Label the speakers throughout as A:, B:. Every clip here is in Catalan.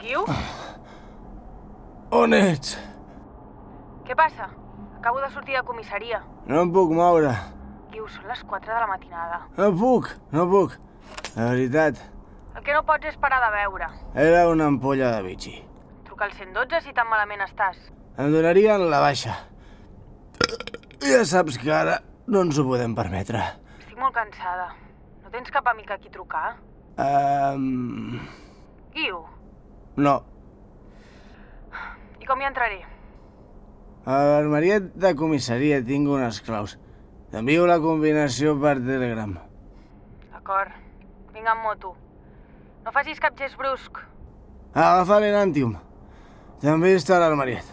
A: Guiu?
B: On ets?
A: Què passa? Acabo de sortir de comissaria.
B: No em puc moure.
A: Guiu, són les 4 de la matinada.
B: No puc, no puc. La veritat,
A: El que no pots és parar de veure.
B: era una ampolla de bitxi.
A: Truca al 112 si tan malament estàs.
B: Em donarien la baixa. Ja saps que ara no ens ho podem permetre.
A: Estic molt cansada. No tens cap amic a qui trucar?
B: Um,
A: Guiu,
B: no.
A: i com hi entraré?
B: A l'armeria de comissaria tinc unes claus. T'envio la combinació per Telegram.
A: D'acord. Vinga amb moto. No facis cap gest brusc.
B: Agafa l'enantium. També està a l'armariet.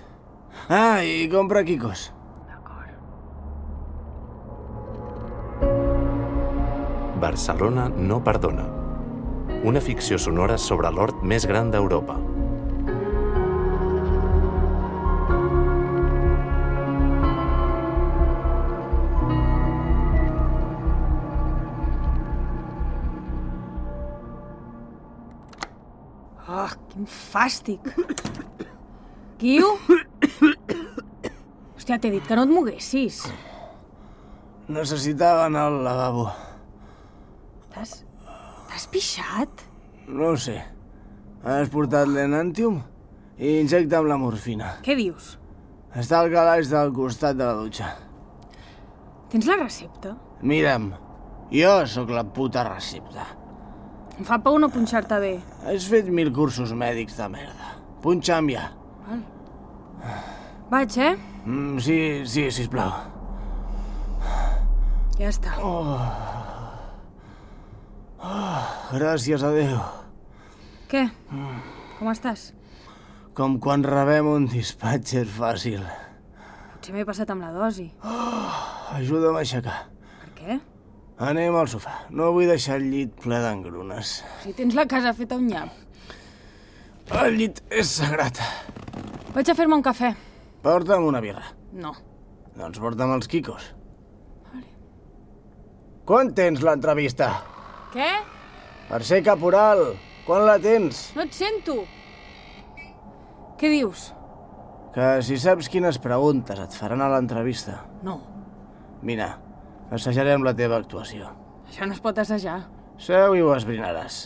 B: Ah, i compra quicos.
A: D'acord.
C: Barcelona no perdona. Una ficció sonora sobre l'hort més gran d'Europa.
D: Oh, quin fàstic. Guiu? Hòstia, t'he dit que no et moguessis.
B: Necessitava anar al lavabo.
D: T'has... t'has pixat?
B: No ho sé. Has portat l'enantium i injecta'm la morfina.
D: Què dius?
B: Està al calaix del costat de la dutxa.
D: Tens la recepta?
B: Mira'm, jo sóc la puta recepta.
D: Em fa por no punxar-te bé.
B: Has fet mil cursos mèdics de merda. Punxa'm ja.
D: Vaig, eh?
B: Mm, sí, sí, sisplau.
D: Ja està.
B: Gràcies a Déu.
D: Què? Com estàs?
B: Com quan rebem un dispatxer fàcil.
D: Potser m'he passat amb la dosi.
B: Ajuda'm a aixecar.
D: Per què?
B: Anem al sofà. No vull deixar el llit ple d'engrunes.
D: Si tens la casa feta un nyap.
B: El llit és sagrat.
D: Vaig a fer-me un cafè.
B: Porta'm una birra.
D: No.
B: Doncs porta'm els quicos. Quan tens l'entrevista?
D: Què?
B: Per ser caporal, quan la tens?
D: No et sento. Què dius?
B: Que si saps quines preguntes et faran a l'entrevista.
D: No.
B: Vine, assajarem la teva actuació.
D: Això no es pot assajar.
B: Seu i ho esbrinaràs.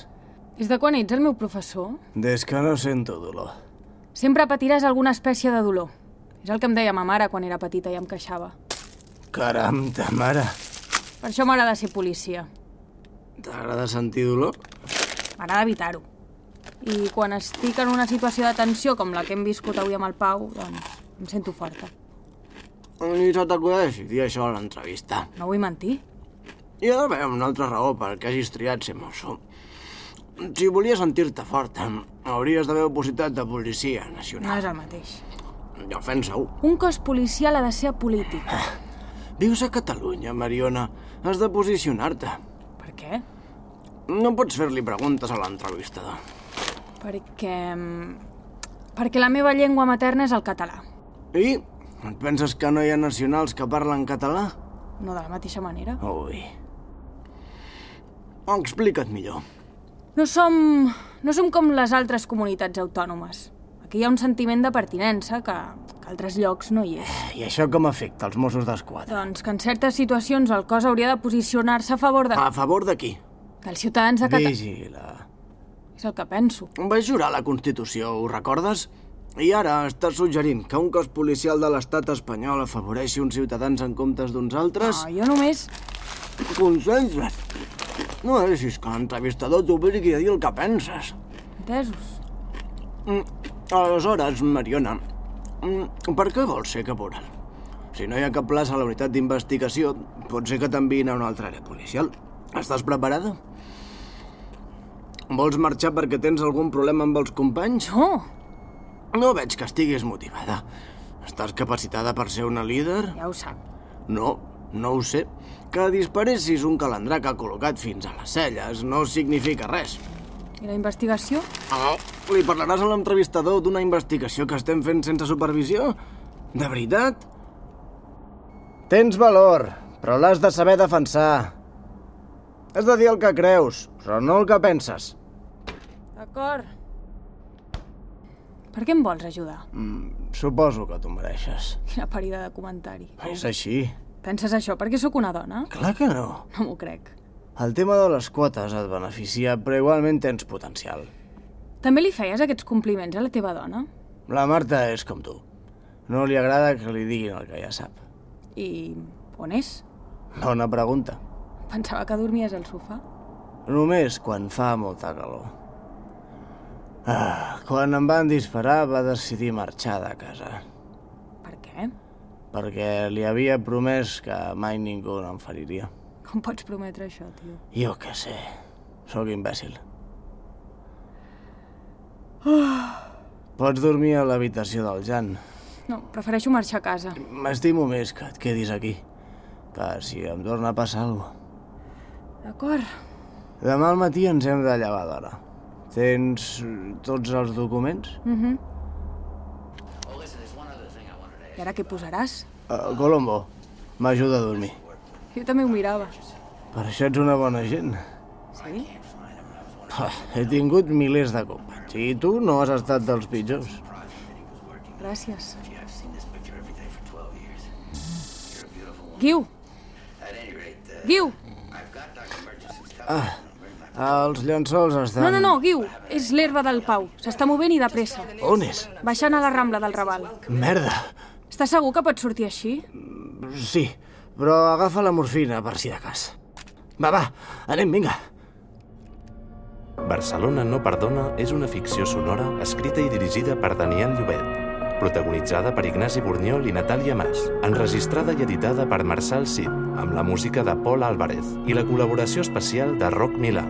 D: Des de quan ets el meu professor?
B: Des que no sento dolor.
D: Sempre patiràs alguna espècie de dolor. És el que em deia ma mare quan era petita i em queixava.
B: Caram, ta mare.
D: Per això m'agrada ser policia.
B: T'agrada sentir dolor?
D: M'agrada evitar-ho. I quan estic en una situació de tensió com la que hem viscut avui amb el Pau, doncs em sento forta.
B: Ni se t'acudeix dir això a l'entrevista.
D: No vull mentir.
B: Hi ha d'haver una altra raó per què hagis triat ser mosso. Si volies sentir-te forta, hauries d'haver opositat de policia
D: No
B: nacional.
D: és el mateix.
B: I ofensa-ho.
D: Un cos policial ha de ser polític.
B: Vius a Catalunya, Mariona. Has de posicionar-te.
D: Per què?
B: No pots fer-li preguntes a l'entrevistador.
D: Perquè... mm, Perquè la meva llengua materna és el català.
B: I? Et penses que no hi ha nacionals que parlen català?
D: No de la mateixa manera.
B: Ui. Explica't millor.
D: No som... no som com les altres comunitats autònomes. Aquí hi ha un sentiment de pertinença que, que a altres llocs no hi és.
B: I això com afecta els Mossos d'Esquadra?
D: Doncs que en certes situacions el cos hauria de posicionar-se a favor de,
B: A favor de qui?
D: dels ciutadans de Catalunya.
B: Vigila.
D: És el que penso.
B: Vaig jurar la Constitució, ho recordes? I ara estàs suggerint que un cos policial de l'estat espanyol afavoreixi uns ciutadans en comptes d'uns altres?
D: No, Ah, jo només...
B: Concentra't! No deixis que l'entrevistador t'obligui a dir el que penses.
D: Entesos?
B: Mm, Aleshores, Mariona, mm, per què vols ser caporal? Si no hi ha cap plaça a la unitat d'investigació, pot ser que t'enviïn a una altra àrea policial. Estàs preparada? Vols marxar perquè tens algun problema amb els companys?
D: No,
B: No veig que estiguis motivada. Estàs capacitada per ser una líder?
D: ja ho sap.
B: No, no ho sé. Que disparessis un calendrà que ha col·locat fins a les celles no significa res.
D: I la investigació?
B: Oh, li parlaràs a l'entrevistador d'una investigació que estem fent sense supervisió? De veritat? Tens valor, però l'has de saber defensar. Has de dir el que creus, però no el que penses.
D: D'acord. Per què em vols ajudar?
B: Mm, Suposo que t'ho mereixes.
D: Quina parida de comentari.
B: És així.
D: Penses això perquè sóc una dona?
B: Clar que no.
D: No m'ho crec.
B: El tema de les quotes et beneficia, però igualment tens potencial.
D: També li feies aquests compliments a la teva dona?
B: La Marta és com tu. No li agrada que li diguin el que ja sap.
D: I on és?
B: Bona pregunta.
D: Pensava que dormies al sofà.
B: Només quan fa molta calor. Ah, quan em van disparar va decidir marxar de casa,
D: Per què?
B: perquè li havia promès que mai ningú no em feriria.
D: Com pots prometre això, tio?
B: Jo què sé, sóc imbècil. Pots dormir a l'habitació del Jan.
D: No, prefereixo marxar a casa.
B: M'estimo més que et quedis aquí, que si em torna a passar alguna cosa.
D: D'acord.
B: Demà al matí ens hem de llevar d'hora. Tens eh, tots els documents?
D: Mhm. I ara què posaràs?
B: Uh, Colombo, m'ajuda a dormir.
D: Jo també ho mirava.
B: Per això ets una bona gent.
D: Sí?
B: Pah, he tingut milers de companys i tu no has estat dels pitjors.
D: Gràcies. Guiu! Guiu!
B: Els llençols estan...
D: No, no, no, Guiu! És l'herba del Pau. S'està movent i de pressa.
B: On és?
D: Baixant a la Rambla del Raval.
B: Merda!
D: Estàs segur que pot sortir així?
B: Sí, però agafa la morfina per si de cas. Va, va, anem, vinga.
C: Barcelona no perdona és una ficció sonora escrita i dirigida per Daniel Llobet, protagonitzada per Ignasi Borniol i Natàlia Mas, enregistrada i editada per Marçal Cid, amb la música de Paul Álvarez i la col·laboració especial de Roc Milà.